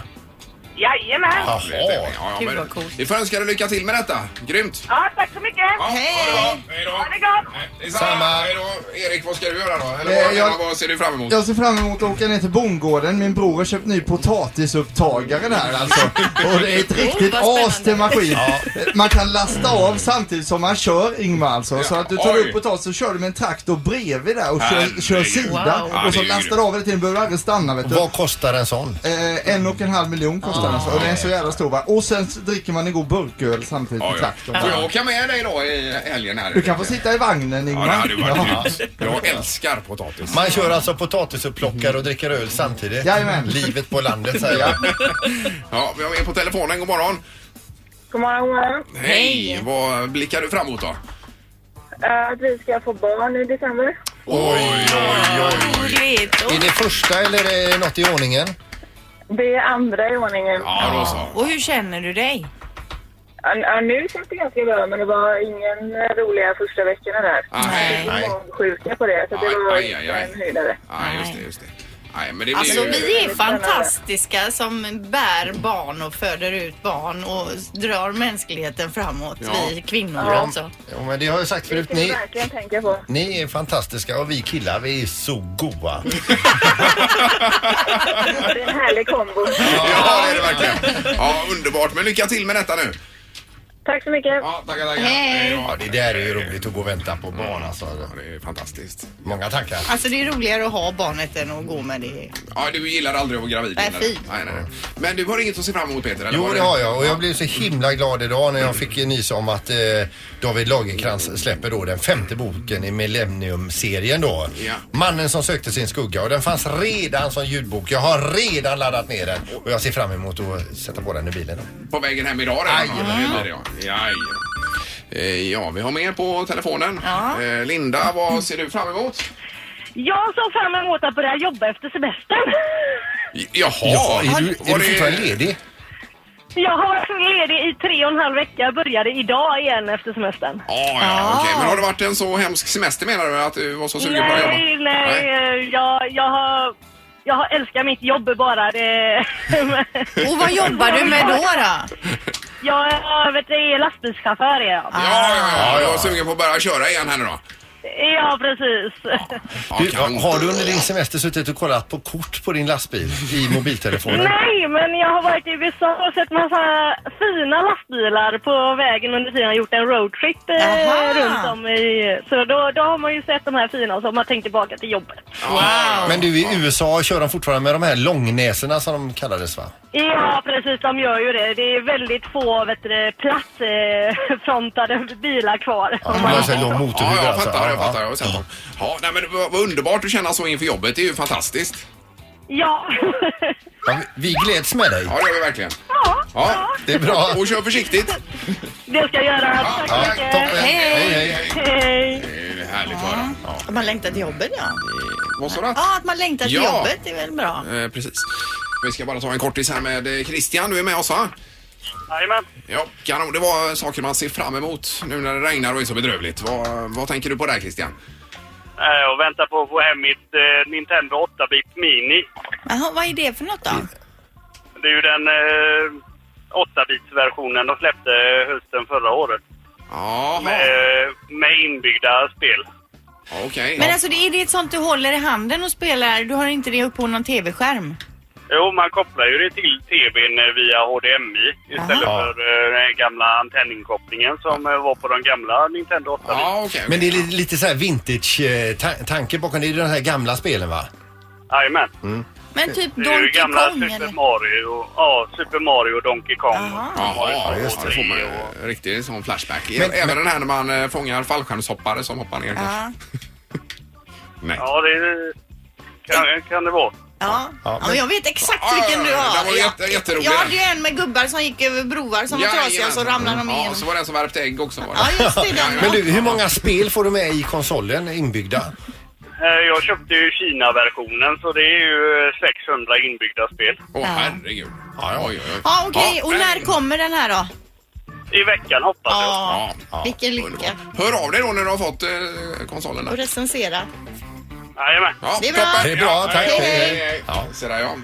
Speaker 10: Jajamän!
Speaker 3: Ja.
Speaker 1: Ja, ja, ja,
Speaker 7: Gud,
Speaker 1: men
Speaker 7: vad coolt.
Speaker 1: Vi får önska dig lycka till med detta. Grymt!
Speaker 10: Ja, tack så mycket!
Speaker 1: Ja, Ha det bra. Hej då!
Speaker 10: Ha det gott!
Speaker 1: Detsamma!
Speaker 3: Samma.
Speaker 1: Hej då! Erik, vad ska du göra då? Eller
Speaker 9: Eh,
Speaker 1: vad,
Speaker 9: jag-
Speaker 1: eller vad ser du fram emot?
Speaker 9: Jag ser fram emot att åka ner till bondgården. Min bror har köpt ny potatisupptagare där alltså. Och det är ett riktigt
Speaker 2: Oh, vad
Speaker 9: as till maskin. Man kan lasta av samtidigt som man kör Ingmar alltså. Så att du tar
Speaker 1: Oj.
Speaker 9: upp potatis så kör du med en traktor bredvid där och kör,
Speaker 1: Herregud.
Speaker 9: kör sida.
Speaker 1: Wow. Ja,
Speaker 9: Och
Speaker 1: det är
Speaker 9: så
Speaker 1: ju
Speaker 9: lastar
Speaker 1: grymt.
Speaker 9: du av hela tiden. Behöver aldrig stanna vet du.
Speaker 3: Vad kostar en sån?
Speaker 9: Eh, en och en halv miljon kostar den alltså. Och den är så jävla stor va. Och sen så dricker man en god burköl samtidigt
Speaker 1: Ja,
Speaker 9: med
Speaker 1: ja.
Speaker 9: traktorn.
Speaker 1: Får jag åka med dig då i helgen här?
Speaker 9: Du kan få sitta i vagnen
Speaker 1: Ja, det
Speaker 9: Ingmar.
Speaker 1: hade ju varit grymt. Jag älskar potatis.
Speaker 3: Man kör alltså potatisupplockare och dricker öl samtidigt.
Speaker 9: Jajamän.
Speaker 3: Livet på landet säger jag.
Speaker 1: Ja, vi har med på telefonen. God morgon.
Speaker 10: God morgon, god morgon.
Speaker 1: Hej! Vad blickar du fram emot då?
Speaker 10: Eh, att vi ska få barn i december.
Speaker 3: Oj, oj, oj.
Speaker 2: Roligt.
Speaker 3: Är det första eller är det något i ordningen?
Speaker 10: Det är andra i ordningen.
Speaker 1: Ja, då så.
Speaker 2: Och hur känner du dig?
Speaker 10: Ja, ja, nu känns det ganska bra, men det var ingen eh, roliga första veckorna där.
Speaker 1: Nej,
Speaker 3: Nej.
Speaker 10: Sjuka på det, så det
Speaker 1: Aj,
Speaker 10: var
Speaker 1: aj, aj, aj.
Speaker 10: en höjdare.
Speaker 1: Nej, just det, just det. Nej, men det blir
Speaker 2: Alltså
Speaker 1: ju...
Speaker 2: vi är fantastiska som bär barn och föder ut barn och drar mänskligheten framåt,
Speaker 1: Ja.
Speaker 2: vi kvinnor alltså.
Speaker 3: Jo, men det har jag sagt
Speaker 10: Det
Speaker 3: förut.
Speaker 10: ska vi
Speaker 3: Ni,
Speaker 10: verkligen tänka på.
Speaker 3: ni är fantastiska och vi killar, vi är så goa.
Speaker 10: Det är en härlig kombo.
Speaker 1: Ja, det är det verkligen. Ja, underbart. Men lycka till med detta nu.
Speaker 10: Tack så mycket.
Speaker 1: Ja, tackar, tackar. Hej.
Speaker 3: Ja, det där är ju roligt att gå och vänta på barn alltså.
Speaker 1: Ja, det är fantastiskt.
Speaker 3: Många tackar.
Speaker 2: Alltså det är roligare att ha barnet än att gå med det.
Speaker 1: Ja, du gillar aldrig att vara gravid.
Speaker 2: Nej,
Speaker 1: Linda.
Speaker 2: fy.
Speaker 1: nej, nej. nej. Men du har inget att se fram emot, Peter? Eller
Speaker 3: Jo,
Speaker 1: var
Speaker 3: det har jag och jag blev så himla glad idag när jag fick nys om att eh, David Lagercrantz släpper då den femte boken i Millennium-serien då.
Speaker 1: Ja.
Speaker 3: Mannen som sökte sin skugga och den fanns redan som ljudbok. Jag har redan laddat ner den och jag ser fram emot att sätta på den i bilen.
Speaker 1: På vägen hem idag redan?
Speaker 3: Aj,
Speaker 1: Ja, det blir det, ja. Jajamän. Eh, Ja, vi har med på telefonen. Eh, Linda, vad ser du fram emot?
Speaker 10: Jag såg fram emot att börja jobba efter semestern.
Speaker 1: J- Jaha!
Speaker 3: är du,
Speaker 1: Var
Speaker 3: är du fortfarande ledig?
Speaker 10: Jag har varit ledig i tre och en halv vecka. Jag började idag igen efter semestern.
Speaker 1: Ja, ja, ja. okej. Men har det varit en så hemsk semester menar du att du var så sugen på att jobba?
Speaker 10: Nej, nej. eh, Jag, jag har... Jag har älskat mitt jobb bara. Det...
Speaker 2: Och vad jobbar du med då? då?
Speaker 10: jag är vet du, lastbilschaufför. är jag.
Speaker 1: Ja, ja, ja. Jag är sugen på att börja köra igen här nu då.
Speaker 11: Ja, precis.
Speaker 3: Du, har du under din semester suttit och kollat på kort på din lastbil i mobiltelefonen?
Speaker 11: Nej, men jag har varit i USA och sett massa fina lastbilar på vägen under tiden jag gjort en roadtrip eh,
Speaker 12: Aha.
Speaker 11: runt om i... Så då, då har man ju sett de här fina som man tänkt tillbaka till jobbet.
Speaker 3: Men du, i USA kör de fortfarande med de här långnäsorna som de kallades va?
Speaker 11: Ja, precis. De gör ju det. Det är väldigt få vet du, plattfrontade bilar kvar. om man-
Speaker 3: har så här lång motorhuvud
Speaker 1: ja, jag
Speaker 3: alltså.
Speaker 1: fattar, jag
Speaker 3: Ja.
Speaker 1: fattar. Jag har sett dem. Ja, nej, men vad, vad underbart att känna så inför jobbet. Det är ju fantastiskt.
Speaker 11: Ja.
Speaker 3: Ja, vi gläds med dig.
Speaker 1: Ja, det gör vi verkligen. Ja.
Speaker 3: Det är bra.
Speaker 1: Och kör försiktigt.
Speaker 11: Det ska jag göra. Tack
Speaker 1: ja,
Speaker 11: så mycket.
Speaker 1: toppen. Hej,
Speaker 3: hej.
Speaker 11: Hej.
Speaker 1: Det är härligt att höra. Ja.
Speaker 12: Att man längtar till jobbet, ja.
Speaker 1: Vad sa du?
Speaker 12: Ja, att man längtar till
Speaker 1: Ja.
Speaker 12: jobbet är väl bra.
Speaker 1: Eh, precis. Vi ska bara ta en kortis här med eh, Christian. Du är med oss va?
Speaker 13: Jajamän.
Speaker 1: Ja, kanon. Det var saker man ser fram emot nu när det regnar och är så bedrövligt. Vad, vad tänker du på där Christian?
Speaker 13: Eh, Jag väntar på att få hem mitt eh, Nintendo 8-bit Mini.
Speaker 12: Jaha, vad är det för något då?
Speaker 13: Det är ju den eh, 8-bits-versionen de släppte eh, hösten förra året. Med, eh, med inbyggda spel.
Speaker 1: Okej.
Speaker 2: Men alltså det är det ett sånt du håller i handen och spelar? Du har inte det upp på någon tv-skärm?
Speaker 13: Jo, man kopplar ju det till tvn eh, via HDMI istället
Speaker 3: Aha.
Speaker 13: för eh, den här gamla antenninnkopplingen som eh, var på den gamla Nintendo 8
Speaker 1: Ja,
Speaker 3: Men det är li- lite så här vintage-tanke bakom. Det är de här gamla spelen va?
Speaker 13: Jajamän.
Speaker 2: Men typ
Speaker 13: Det är ju
Speaker 2: Donkey
Speaker 13: gamla
Speaker 2: Kong,
Speaker 13: Super
Speaker 2: eller?
Speaker 13: Mario, ja, Super Mario och Donkey Kong.
Speaker 1: Jaha, just det. Får man eh, riktigt sån flashback.
Speaker 13: Men-
Speaker 1: Även
Speaker 13: men-
Speaker 1: den här när man eh, fångar fallskärmshoppare som hoppar ner. kanske. Nej.
Speaker 13: Ja, det kan, kan det vara.
Speaker 12: Ja.
Speaker 1: Ja,
Speaker 12: Ja, men jag vet exakt vilken du
Speaker 1: ja,
Speaker 12: har.
Speaker 1: den var
Speaker 12: Ja.
Speaker 1: jätte- jätterolig,
Speaker 12: Jag
Speaker 1: den.
Speaker 12: hade ju en med gubbar som gick över broar som var trasiga och så ramlade de
Speaker 1: Mm. Ja,
Speaker 12: igenom.
Speaker 1: så var det en som värpte ägg också. Var det.
Speaker 3: Men du, hur många spel får du med i konsolen inbyggda?
Speaker 13: Eh, Jag köpte ju Kina-versionen så det är ju eh, 600 inbyggda spel.
Speaker 1: Åh herregud. Ja, oj, oj, oj.
Speaker 12: Ja, okej. Och när
Speaker 1: nej.
Speaker 12: kommer den här då?
Speaker 13: I veckan hoppas jag.
Speaker 12: Ja, vilken lycka.
Speaker 1: Hör av dig då när du har fått eh, konsolen.
Speaker 12: Och
Speaker 1: där.
Speaker 12: recensera.
Speaker 13: Jajamän.
Speaker 1: Ja,
Speaker 12: Det är bra.
Speaker 1: toppen.
Speaker 12: Det är bra,
Speaker 1: Ja,
Speaker 12: tack.
Speaker 1: hej,
Speaker 12: Hej,
Speaker 1: hej,
Speaker 12: hej.
Speaker 1: hej. Ja, så där, ja.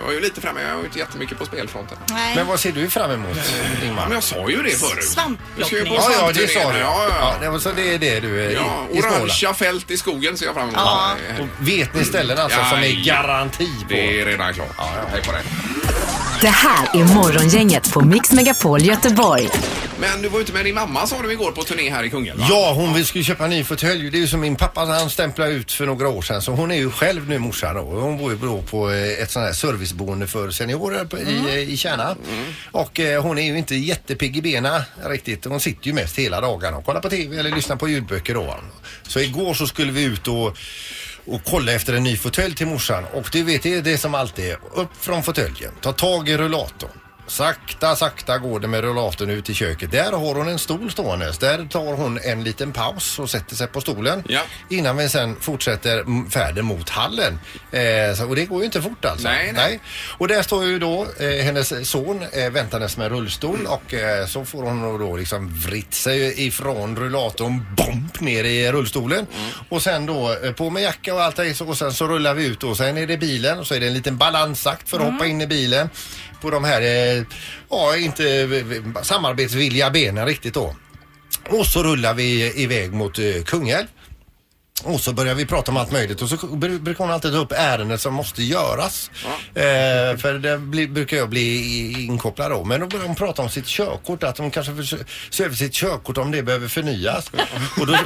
Speaker 1: Jag är ju lite framme, jag har ju inte jättemycket på spelfronten.
Speaker 12: Nej.
Speaker 3: Men vad ser du fram emot, Ingmar?
Speaker 1: Men jag sa ju det förut. Vi ska ju på
Speaker 3: Ja, ja, det
Speaker 1: svampturné
Speaker 3: sa du.
Speaker 1: nu. Ja, ja, ja.
Speaker 3: Ja, det var så det är det du är
Speaker 1: Ja,
Speaker 3: i, i Småland.
Speaker 1: orangea fält i skogen ser jag fram emot.
Speaker 3: Ja.
Speaker 1: Eh,
Speaker 3: Och Vet ni ställen alltså som är
Speaker 1: Ja,
Speaker 3: garanti på?
Speaker 1: Det är redan klart. Hej på dig.
Speaker 4: Det här är Morgongänget på Mix Megapol Göteborg.
Speaker 1: Men du var ute med din mamma sa du igår på turné här i Kungälv va?
Speaker 3: Ja, hon vill skulle köpa en ny fåtölj. Det är ju som min pappa, han stämplade ut för några år sedan. Så hon är ju själv nu morsan då. Hon bor ju då på eh, ett sånt här serviceboende för seniorer på, i, i Kärna. Och eh, hon är ju inte jättepigg i benen riktigt. Hon sitter ju mest hela dagarna och kollar på TV eller lyssnar på ljudböcker då. Så igår så skulle vi ut och och kolla efter en ny fåtölj till morsan. Och du vet, det är det som alltid är. Upp från fåtöljen, ta tag i rullatorn. Sakta, sakta går det med rullatorn ut i köket. Där har hon en stol stående. Där tar hon en liten paus och sätter sig på stolen. Innan vi sen fortsätter m- färden mot hallen. Eh, så, och det går ju inte fort alltså.
Speaker 1: Nej, nej.
Speaker 3: Och där står ju då eh, hennes son eh, väntandes med rullstol och eh, så får hon då- då liksom vritt sig ifrån rullatorn, bomp, ner i rullstolen.
Speaker 1: Mm.
Speaker 3: Och sen då eh, på med jacka och allt det så- och sen så rullar vi ut och sen är det bilen och så är det en liten balansakt för att
Speaker 1: Mm.
Speaker 3: hoppa in i bilen på de här, eh, ja inte eh, samarbetsvilliga benen riktigt då. Och så rullar vi iväg mot eh, Kungälv. Och så börjar vi prata om allt möjligt och så br- brukar hon alltid ta upp ärenden som måste göras. Eh, för det blir- brukar jag bli i- inkopplad då. Men då börjar hon prata om sitt körkort, att hon kanske förs- ser över sitt körkort om det behöver förnyas. och då,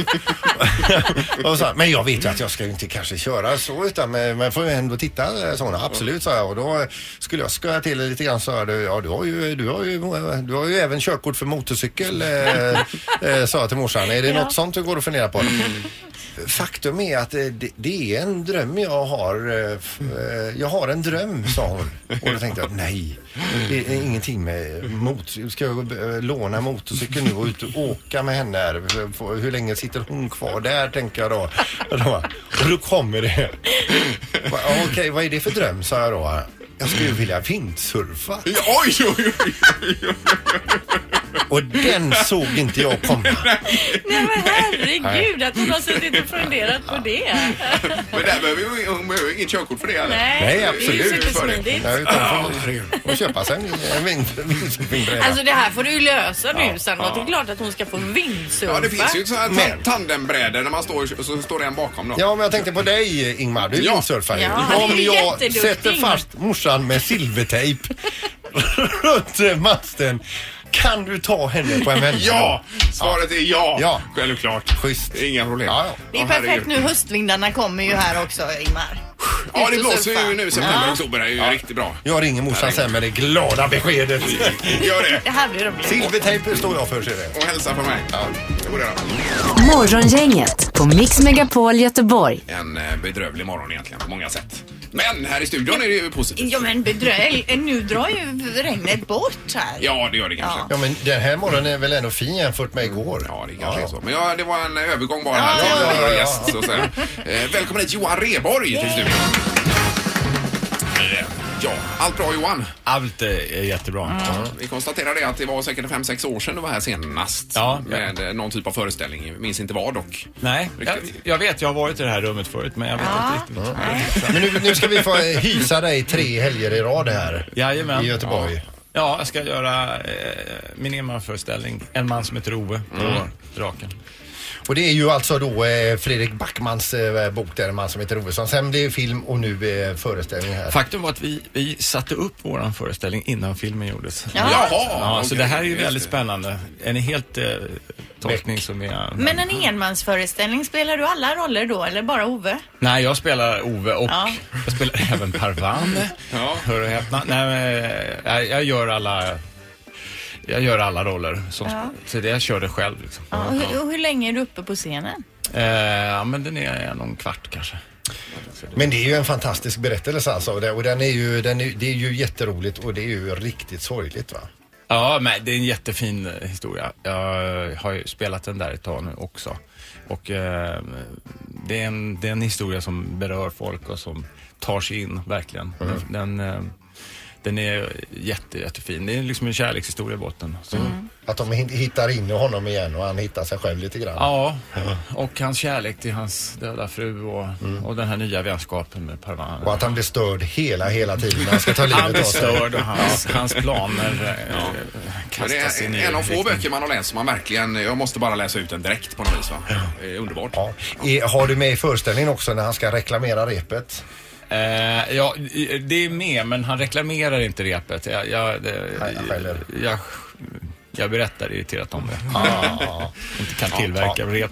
Speaker 3: och så, här, men jag vet ju att jag ska ju inte kanske köra så utan men man får ju ändå titta sådana. Absolut sa jag och då skulle jag sköja till det lite grann så här, ja du har ju, du har ju, du har ju även körkort för motorcykel eh, eh, sa jag till morsan. Är det
Speaker 14: Ja.
Speaker 3: något sånt du går och funderar på? Faktum är att eh, det, det är en dröm jag har. eh, f- eh, Jag har en dröm, sa hon. Och då tänkte jag, nej, det är ingenting med mot. Ska jag eh, låna motorcykeln nu och ut och åka med henne här? F- Hur länge sitter hon kvar där, tänker jag då. Och då, bara, och då kommer det. Va- ja, Okej, vad är det för dröm, sa jag då. Jag skulle ju vilja vindsurfa.
Speaker 1: Oj, oj, oj.
Speaker 3: Och den såg inte jag komma.
Speaker 7: Nej men herregud att hon har suttit och funderat på det.
Speaker 1: Men där behöver ju hon behöver ju inget körkort för det eller?
Speaker 7: Nej,
Speaker 3: Nej,
Speaker 7: det är ju
Speaker 3: absolut.
Speaker 7: supersmidigt.
Speaker 3: Nej, utan får- Och köpa sig en- en vind- vindbräda.
Speaker 7: Alltså det här får du ju lösa nu
Speaker 1: Ja.
Speaker 7: Sandra. Det är klart att hon ska få vindsurfa.
Speaker 1: Ja, det finns ju ett sånt här ta- tandembrädor när man står och så står det en bakom då.
Speaker 3: Ja, men jag tänkte på dig Ingmar, du är
Speaker 1: Ja.
Speaker 3: windsurfare.
Speaker 1: Ja, han är
Speaker 3: Om jag
Speaker 1: jätteduktig.
Speaker 3: sätter fast morsan med silvertejp runt masten, kan du ta henne på en vända?
Speaker 1: Ja! Svaret är ja.
Speaker 3: Ja.
Speaker 1: Självklart. Schysst. Inga problem.
Speaker 2: Det är
Speaker 1: Åh,
Speaker 2: perfekt
Speaker 1: herregud.
Speaker 2: nu. Höstvindarna kommer ju här också, Ingmar.
Speaker 1: Ja, det
Speaker 2: Ut och
Speaker 1: blåser
Speaker 2: surfa.
Speaker 1: ju nu september
Speaker 2: Ja.
Speaker 1: och oktober. Det är ju riktigt bra.
Speaker 3: Jag ringer morsan sen med det glada beskedet.
Speaker 1: Gör det.
Speaker 2: Det här blir roligt.
Speaker 3: Silvertejp står jag för, ser du.
Speaker 1: Och hälsa från mig. Ja, det borde jag göra.
Speaker 4: Morgongänget på Mix Megapol Göteborg.
Speaker 1: En eh, bedrövlig morgon egentligen på många sätt. Men här i studion är det ju positivt.
Speaker 2: Ja men bedröv, eh, nu drar ju regnet bort här.
Speaker 1: Ja, det gör det kanske.
Speaker 3: Ja, men den här morgonen är väl ändå fin jämfört med igår?
Speaker 1: Ja, det kanske är så. Men ja, det var en eh, övergång bara här till
Speaker 3: ja,
Speaker 1: vår
Speaker 3: ja.
Speaker 1: gäst. Så att säga. Eh, Välkommen hit Johan Rheborg till studion. Eh, Ja, allt bra Johan?
Speaker 14: Allt är jättebra.
Speaker 1: Ja, Vi konstaterar det att det var säkert 5-6 år sedan du var här senast
Speaker 14: Ja.
Speaker 1: med eh, någon typ av föreställning. Jag Minns inte vad dock.
Speaker 14: Nej, jag, jag vet, jag har varit i det här rummet förut men jag vet inte riktigt.
Speaker 3: Men nu, nu ska vi få eh, hysa dig tre helger i rad här.
Speaker 14: Jajamän.
Speaker 3: I Göteborg.
Speaker 14: Ja. Ja, jag ska göra eh, min enmanföreställning En man som heter Ove på
Speaker 3: Mm.
Speaker 14: Draken.
Speaker 3: Och det är ju alltså då eh, Fredrik Backmans eh, bok där, En man som heter Ovesson. Sen blir det film och nu eh, föreställning här.
Speaker 14: Faktum var att vi, vi satte upp vår föreställning innan filmen gjordes.
Speaker 2: Jaha.
Speaker 14: ja,
Speaker 1: Jaha,
Speaker 14: Så
Speaker 1: okej,
Speaker 14: det här är ju
Speaker 1: just
Speaker 14: väldigt
Speaker 1: det.
Speaker 14: spännande. En helt eh, tolkning som jag...
Speaker 2: Men en enmansföreställning, spelar du alla roller då eller bara Ove?
Speaker 14: Nej, jag spelar Ove och
Speaker 2: Ja.
Speaker 14: jag spelar även Parvan. Hör och häpna. Nej, men, eh, jag, jag gör alla... Jag gör alla roller. Som,
Speaker 2: Ja.
Speaker 14: Så det jag kör det själv. Liksom.
Speaker 2: Ja, och hur, och hur länge är du uppe på scenen?
Speaker 14: Eh, ja, men den är någon kvart kanske.
Speaker 3: Men det är ju en fantastisk berättelse alltså. Och det- Och den är ju, den är, det är ju jätteroligt och det är ju riktigt sorgligt va?
Speaker 14: Ja, men det är en jättefin eh, historia. Jag har ju spelat den där ett tag nu också. Och eh, det, är en, det är en historia som berör folk och som tar sig in, verkligen.
Speaker 3: Mm.
Speaker 14: Den, eh, den är jätte, jättefin. Det är liksom en kärlekshistoria i botten. Så.
Speaker 3: Mm. Att de hin- hittar in i honom igen och han hittar sig själv lite grann.
Speaker 14: Ja, och hans kärlek till hans döda fru och, och den här nya vänskapen med Parvan.
Speaker 3: Och att han blir störd hela, hela tiden när han ska ta
Speaker 14: Han
Speaker 3: livet
Speaker 14: blir
Speaker 3: av sig.
Speaker 14: störd och hans, hans planer eh,
Speaker 1: Men det
Speaker 14: kastas in i
Speaker 1: är en av få böcker man har läst som man verkligen, jag måste bara läsa ut den direkt på något vis va? Det är Underbart.
Speaker 3: Är- Har du med i föreställningen också när han ska reklamera repet?
Speaker 14: Eh, ja, det är med, men han reklamerar inte repet. Jag, jag, det, jag, jag, berättar irriterat om det. inte kan tillverka rep.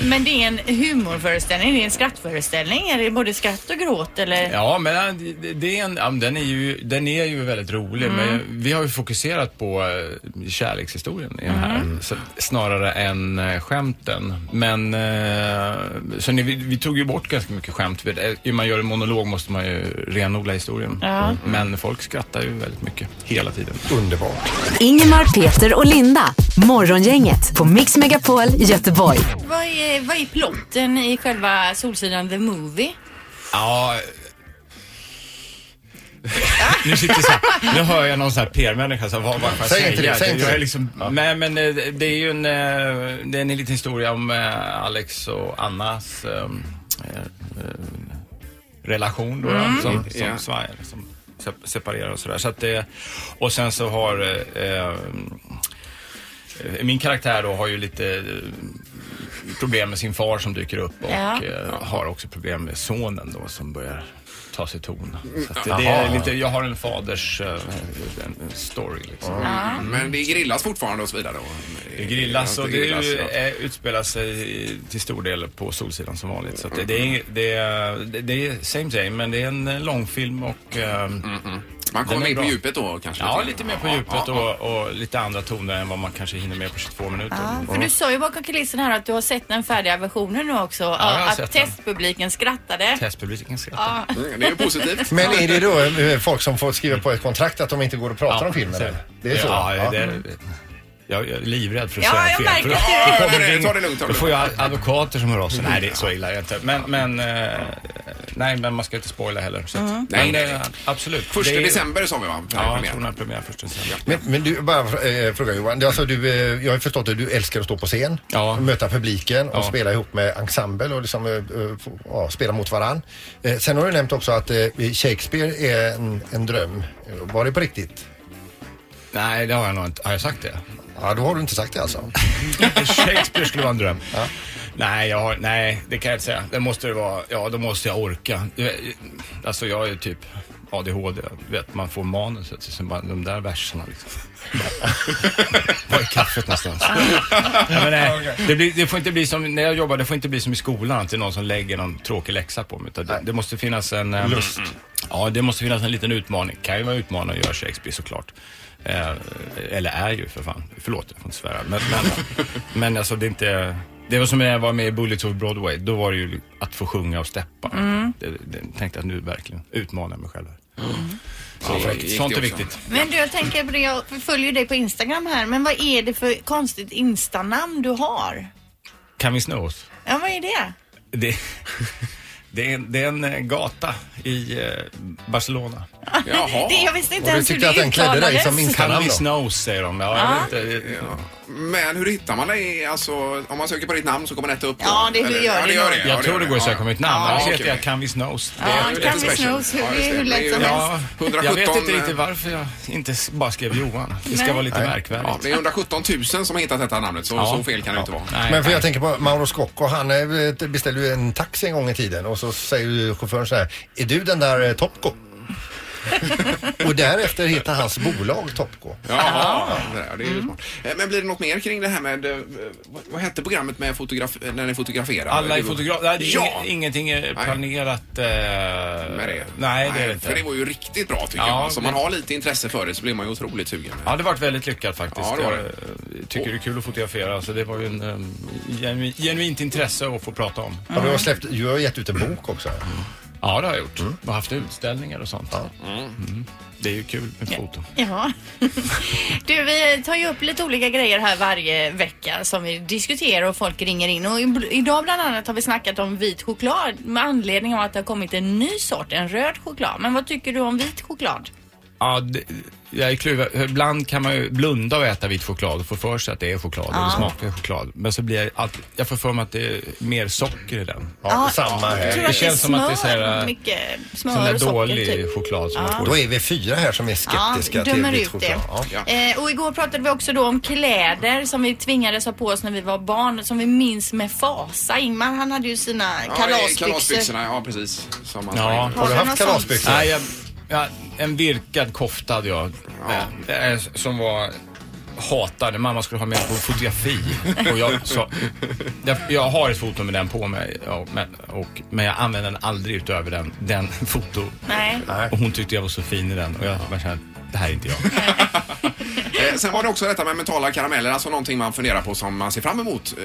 Speaker 2: Men det är en humorföreställning, det är en skrattföreställning. Är det både skratt och gråt eller?
Speaker 14: Ja, men eh, det- det är en, ja, men den, är ju, den är ju väldigt rolig,
Speaker 2: Mm.
Speaker 14: men vi har ju fokuserat på eh, kärlekshistorien i den här, så, snarare än eh, skämten. Men, eh, så ni, vi, vi tog ju bort ganska mycket skämt. För det, när man gör en monolog måste man ju renodla historien.
Speaker 4: Ja.
Speaker 14: Mm. Men folk skrattar ju väldigt mycket, hela tiden.
Speaker 3: Underbart.
Speaker 4: Ingemar, Peter och Linda. Morgongänget på Mix Megapol Göteborg.
Speaker 2: Vad är, vad är plotten i själva Solsidan the Movie?
Speaker 14: Ja. nu sitter så här, nu hör jag någon sån här PR-människa så vad vad
Speaker 3: Säg
Speaker 14: fan säger
Speaker 3: inte det,
Speaker 14: jag?
Speaker 3: säg inte
Speaker 14: jag är
Speaker 3: det.
Speaker 14: liksom, Nej men eh, det är ju en, eh, det är en liten historia om eh, Alex och Annas eh, eh, relation då
Speaker 5: Mm.
Speaker 14: som, som
Speaker 5: Ja.
Speaker 14: svajar, som se- separerar och sådär. Så att det, och sen så har eh, eh, min karaktär då har ju lite eh, problem med sin far som dyker upp och
Speaker 5: Ja.
Speaker 14: eh, har också problem med sonen då som börjar ta sig ton. Så att det,
Speaker 1: Jaha.
Speaker 14: det är lite, jag har en faders eh, en en story liksom.
Speaker 1: Mm. Men det grillas fortfarande och så vidare? och-
Speaker 14: Det grillas
Speaker 1: Ja,
Speaker 14: och
Speaker 1: det
Speaker 14: det
Speaker 1: grillas,
Speaker 14: är ju,
Speaker 1: ja.
Speaker 14: eh, utspelar sig i- till stor del på Solsidan som vanligt. Så att det, det, är, det, är, det, det är same same men det är en eh, långfilm och... eh,
Speaker 1: Mm, Man kommer mer på djupet då kanske? lite
Speaker 14: Ja,
Speaker 1: grann.
Speaker 14: lite mer på
Speaker 1: Ja,
Speaker 14: djupet
Speaker 1: ja, ja.
Speaker 14: och, och lite andra toner än vad man kanske hinner med på 22 minuter.
Speaker 2: Ja, för du sa ju bakom kulisserna här att du har sett den färdiga versionen nu också.
Speaker 14: jag har
Speaker 2: att
Speaker 14: sett den.
Speaker 2: testpubliken skrattade.
Speaker 14: Testpubliken skrattar.
Speaker 2: Ja.
Speaker 1: mm, Det är ju positivt.
Speaker 3: Men är det då eh, folk som får skriva på ett kontrakt att de inte går och pratar om filmen?
Speaker 14: så-
Speaker 3: eller? Det är så?
Speaker 14: Ja, det är, jag, jag är livrädd för att
Speaker 3: Ja,
Speaker 14: säga
Speaker 3: jag
Speaker 14: fel.
Speaker 3: märker
Speaker 14: för
Speaker 3: det.
Speaker 14: då
Speaker 3: Ta det
Speaker 14: kommer
Speaker 3: lugnt,
Speaker 14: in-
Speaker 3: ta det lugnt, ta det
Speaker 14: Då får
Speaker 3: lugnt.
Speaker 14: jag advokater som hör av sig. Nej, det är så illa är det inte. Men, men eh, Nej, men man ska inte spoila heller. Så att,
Speaker 1: Mm.
Speaker 14: Men,
Speaker 1: Nej.
Speaker 14: eh, absolut.
Speaker 1: Första
Speaker 14: Det är-
Speaker 1: december sa vi va?
Speaker 14: Ja, jag tror den här premiär första december.
Speaker 3: Men, men du, bara eh, fråga Johan. Det är Alltså, du, eh, jag har ju förstått att du älskar att stå på scen, möta publiken och
Speaker 14: Ja.
Speaker 3: spela ihop med ensemble och liksom, eh, eh, få- ja, spela mot varann. Eh, sen har du nämnt också att eh, Shakespeare är en, en dröm. Eh, Var det på riktigt?
Speaker 14: Nej, det har jag nog inte. Har jag sagt det?
Speaker 3: Ja, då har du inte sagt det alltså.
Speaker 14: Shakespeare skulle vara en dröm. Nej, jag har, nej, det kan jag inte säga. Det måste det vara, ja då måste jag orka. Du- Alltså jag är ju typ ADHD, vet man får manuset så sen bara de där verserna liksom. Var är kaffet någonstans? ja, men, eh, nej, det, blir, det får inte bli som, när jag jobbar, det får inte bli som i skolan att det är någon som lägger någon tråkig läxa på mig. Utan det, det måste finnas en... eh,
Speaker 3: Lust.
Speaker 14: Ja, det måste finnas en liten utmaning. Kan ju vara utmanande att göra Shakespeare såklart. Eh, eller är ju för fan. Förlåt, jag får inte svära. Men, men, men alltså det är inte... Det var som när jag var med i Bullets of Broadway. Då var det ju att få sjunga och steppa.
Speaker 2: Mm.
Speaker 14: Det, det, tänkte jag nu verkligen utmanar jag mig själv. här. Så,
Speaker 1: Mm. Ja, det gick det
Speaker 14: sånt är
Speaker 1: också.
Speaker 14: viktigt.
Speaker 2: Men du, jag tänker på det, jag följer dig på Instagram här, men vad är det för konstigt instanamn du har?
Speaker 14: Kan vi snå oss?
Speaker 2: Ja, vad är det?
Speaker 14: Det, det, är, en- det är en eh, gata i eh, Barcelona.
Speaker 2: Jaha. Det- jag visste inte Och du ens hur tyckte det att den klädde dig uttalades. som Instagram
Speaker 14: Can we
Speaker 2: då?
Speaker 14: snow, säger de. Ja,
Speaker 2: Ja.
Speaker 14: Jag vet inte.
Speaker 1: Men hur hittar man dig? Alltså, om man söker på ditt namn så kommer detta upp? då?
Speaker 2: Ja, det- hur
Speaker 1: Eller-
Speaker 2: gör
Speaker 1: ja,
Speaker 2: det
Speaker 1: det gör
Speaker 2: nog.
Speaker 1: det.
Speaker 14: Jag
Speaker 1: ja,
Speaker 14: tror
Speaker 1: gör
Speaker 14: det går att söka på mitt namn.
Speaker 1: Ja,
Speaker 14: Annars
Speaker 1: okej.
Speaker 14: heter jag Can we snows.
Speaker 2: Ja, Can we snows, hur- hur lätt som
Speaker 14: Ja,
Speaker 1: helst.
Speaker 14: jag vet inte
Speaker 1: 117,
Speaker 14: riktigt varför jag inte s- bara skrev Johan. Det ska
Speaker 1: eh, Nej.
Speaker 14: vara lite
Speaker 1: Nej.
Speaker 14: märkvärdigt.
Speaker 1: Ja, det är 117 000 som har hittat detta namnet så,
Speaker 14: Ja.
Speaker 1: så fel kan det inte vara.
Speaker 3: Men för jag tänker på Mauro Scocco, han eh, beställde ju en taxi en gång i tiden och så säger ju chauffören så här, är du den där eh, Topco? och därefter heter hans bolag Topco.
Speaker 1: Jaha, ja, det är
Speaker 14: Mm.
Speaker 1: ju smart. Eh, Men blir det något mer kring det här med, eh, vad- vad hette programmet med fotograf, eh, när ni fotograferade?
Speaker 14: Alla är
Speaker 1: Det var-
Speaker 14: fotografer. Nej, det är
Speaker 1: Ja!
Speaker 14: inget- ingenting är planerat. eh,
Speaker 1: det.
Speaker 14: Nej, det är det
Speaker 1: För det
Speaker 14: inte.
Speaker 1: var ju riktigt bra tycker
Speaker 14: Ja,
Speaker 1: jag. Alltså, man
Speaker 14: det-
Speaker 1: har lite intresse för det så blir man ju otroligt sugen.
Speaker 14: Ja, det har varit väldigt lyckat faktiskt.
Speaker 1: Ja, det var det.
Speaker 14: Jag eh, tycker det är kul att fotografera. Så det var ju en, em, genu- genuint intresse att få prata om.
Speaker 3: Ja, du, har släppt, du har gett ut en bok också.
Speaker 14: Ja, det har jag gjort. Och haft utställningar och sånt. Mm. Det är ju kul med foton.
Speaker 2: Ja. Du, vi tar ju upp lite olika grejer här varje vecka som vi diskuterar och folk ringer in. Och i- idag bland annat har vi snackat om vit choklad med anledning av att det har kommit en ny sort, en röd choklad. Men vad tycker du om vit choklad?
Speaker 14: Ja, det, jag är kluven. Ibland kan man ju blunda och äta vit choklad och få för sig att det är choklad och
Speaker 2: Ja.
Speaker 14: det smakar choklad. Men så blir jag alltid, jag får för mig att det är mer socker i den.
Speaker 2: Ja, samma här. jag tror att
Speaker 14: Eh, Det
Speaker 2: det
Speaker 14: känns som att det är så här, äh,
Speaker 2: Mycket smör
Speaker 14: sån där
Speaker 2: och socker
Speaker 14: dålig
Speaker 2: typ.
Speaker 14: choklad som
Speaker 2: Ja.
Speaker 14: man får.
Speaker 3: Då är vi fyra här som är skeptiska
Speaker 2: Ja,
Speaker 3: till
Speaker 2: dömer
Speaker 3: vitt
Speaker 2: ut
Speaker 3: choklad.
Speaker 2: det.
Speaker 3: Ja.
Speaker 2: Eh, och igår pratade vi också då om kläder som vi tvingades ha på oss när vi var barn, som vi minns med fasa. Ingmar han hade ju sina
Speaker 1: Ja,
Speaker 2: kalasbyxor.
Speaker 1: kalasbyxorna. Ja, precis. Som man
Speaker 14: Ja.
Speaker 1: ja.
Speaker 14: Har du haft
Speaker 3: kalasbyxor?
Speaker 14: Nej, jag, jag, en virkad kofta hade jag. Eh, eh, Som var hatade. Mamma skulle ha med på fotografi. Och jag, sa jag, jag har ett foto med den på mig. Ja, men, och, men jag använder den aldrig utöver den, den foto.
Speaker 2: Nej.
Speaker 14: Och hon tyckte jag var så fin i den. Och jag bara kände, det här är inte jag.
Speaker 1: Eh, Sen var det också detta med mentala karameller, alltså någonting man funderar på som man ser fram emot. eh,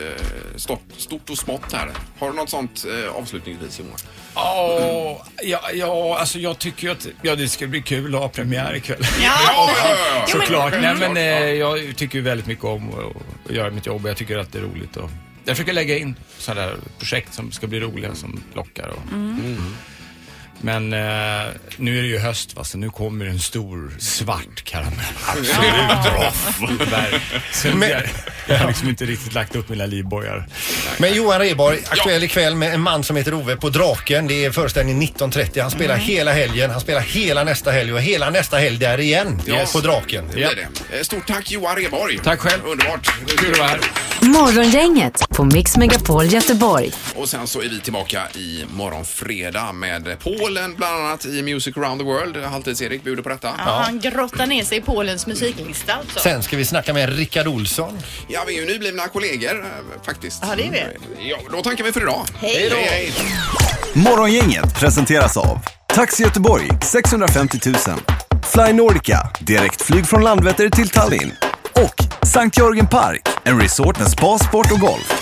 Speaker 1: Stort, stort och smått här. Har du något sånt eh, avslutningsvis Johan?
Speaker 14: Oh, ja, ja, alltså jag tycker ju att ja, det ska bli kul att ha premiär ikväll.
Speaker 1: Ja, ja, ja, ja.
Speaker 14: Såklart.
Speaker 1: Jo, men- Mm.
Speaker 14: Nej, men eh, jag tycker ju väldigt mycket om att, att göra mitt jobb och jag tycker att det är roligt. Och, jag försöker lägga in sådana där projekt som ska bli roliga, som lockar. Och,
Speaker 15: Mm.
Speaker 14: Men eh, nu är det ju höst, va? så nu kommer en stor svart karamell. Tyvärr. Så jag, jag har liksom inte riktigt lagt upp mina livbojar.
Speaker 3: Men Johan Rheborg, aktuell ikväll med en man som heter Ove på Draken. Det är föreställning 19.30. Han spelar hela helgen, han spelar hela nästa helg och hela nästa helg där igen.
Speaker 1: Ja.
Speaker 3: På Draken.
Speaker 1: Det blir det. Eh, Stort tack Johan Rheborg. Tack
Speaker 14: själv.
Speaker 1: Underbart.
Speaker 14: Kul att vara här.
Speaker 4: Morgongänget på Mix Megapol Göteborg.
Speaker 1: Och sen så är vi tillbaka i morgon fredag med Polen bland annat i Music around the world. Halvtids-Erik bjuder på detta.
Speaker 2: Ja, Han grottar ner sig i Polens musiklista alltså.
Speaker 3: Sen ska vi snacka med Rickard Olsson.
Speaker 1: Ja, vi är ju nyblivna kollegor eh, faktiskt.
Speaker 2: Ja, det är vi.
Speaker 1: Ja, då tackar vi för idag.
Speaker 2: Hej då.
Speaker 16: Morgongänget presenteras av Taxi Göteborg 650 000 Fly Nordica, direktflyg från Landvetter till Tallinn och Sankt Jörgen Park, en resort med spa, sport och golf.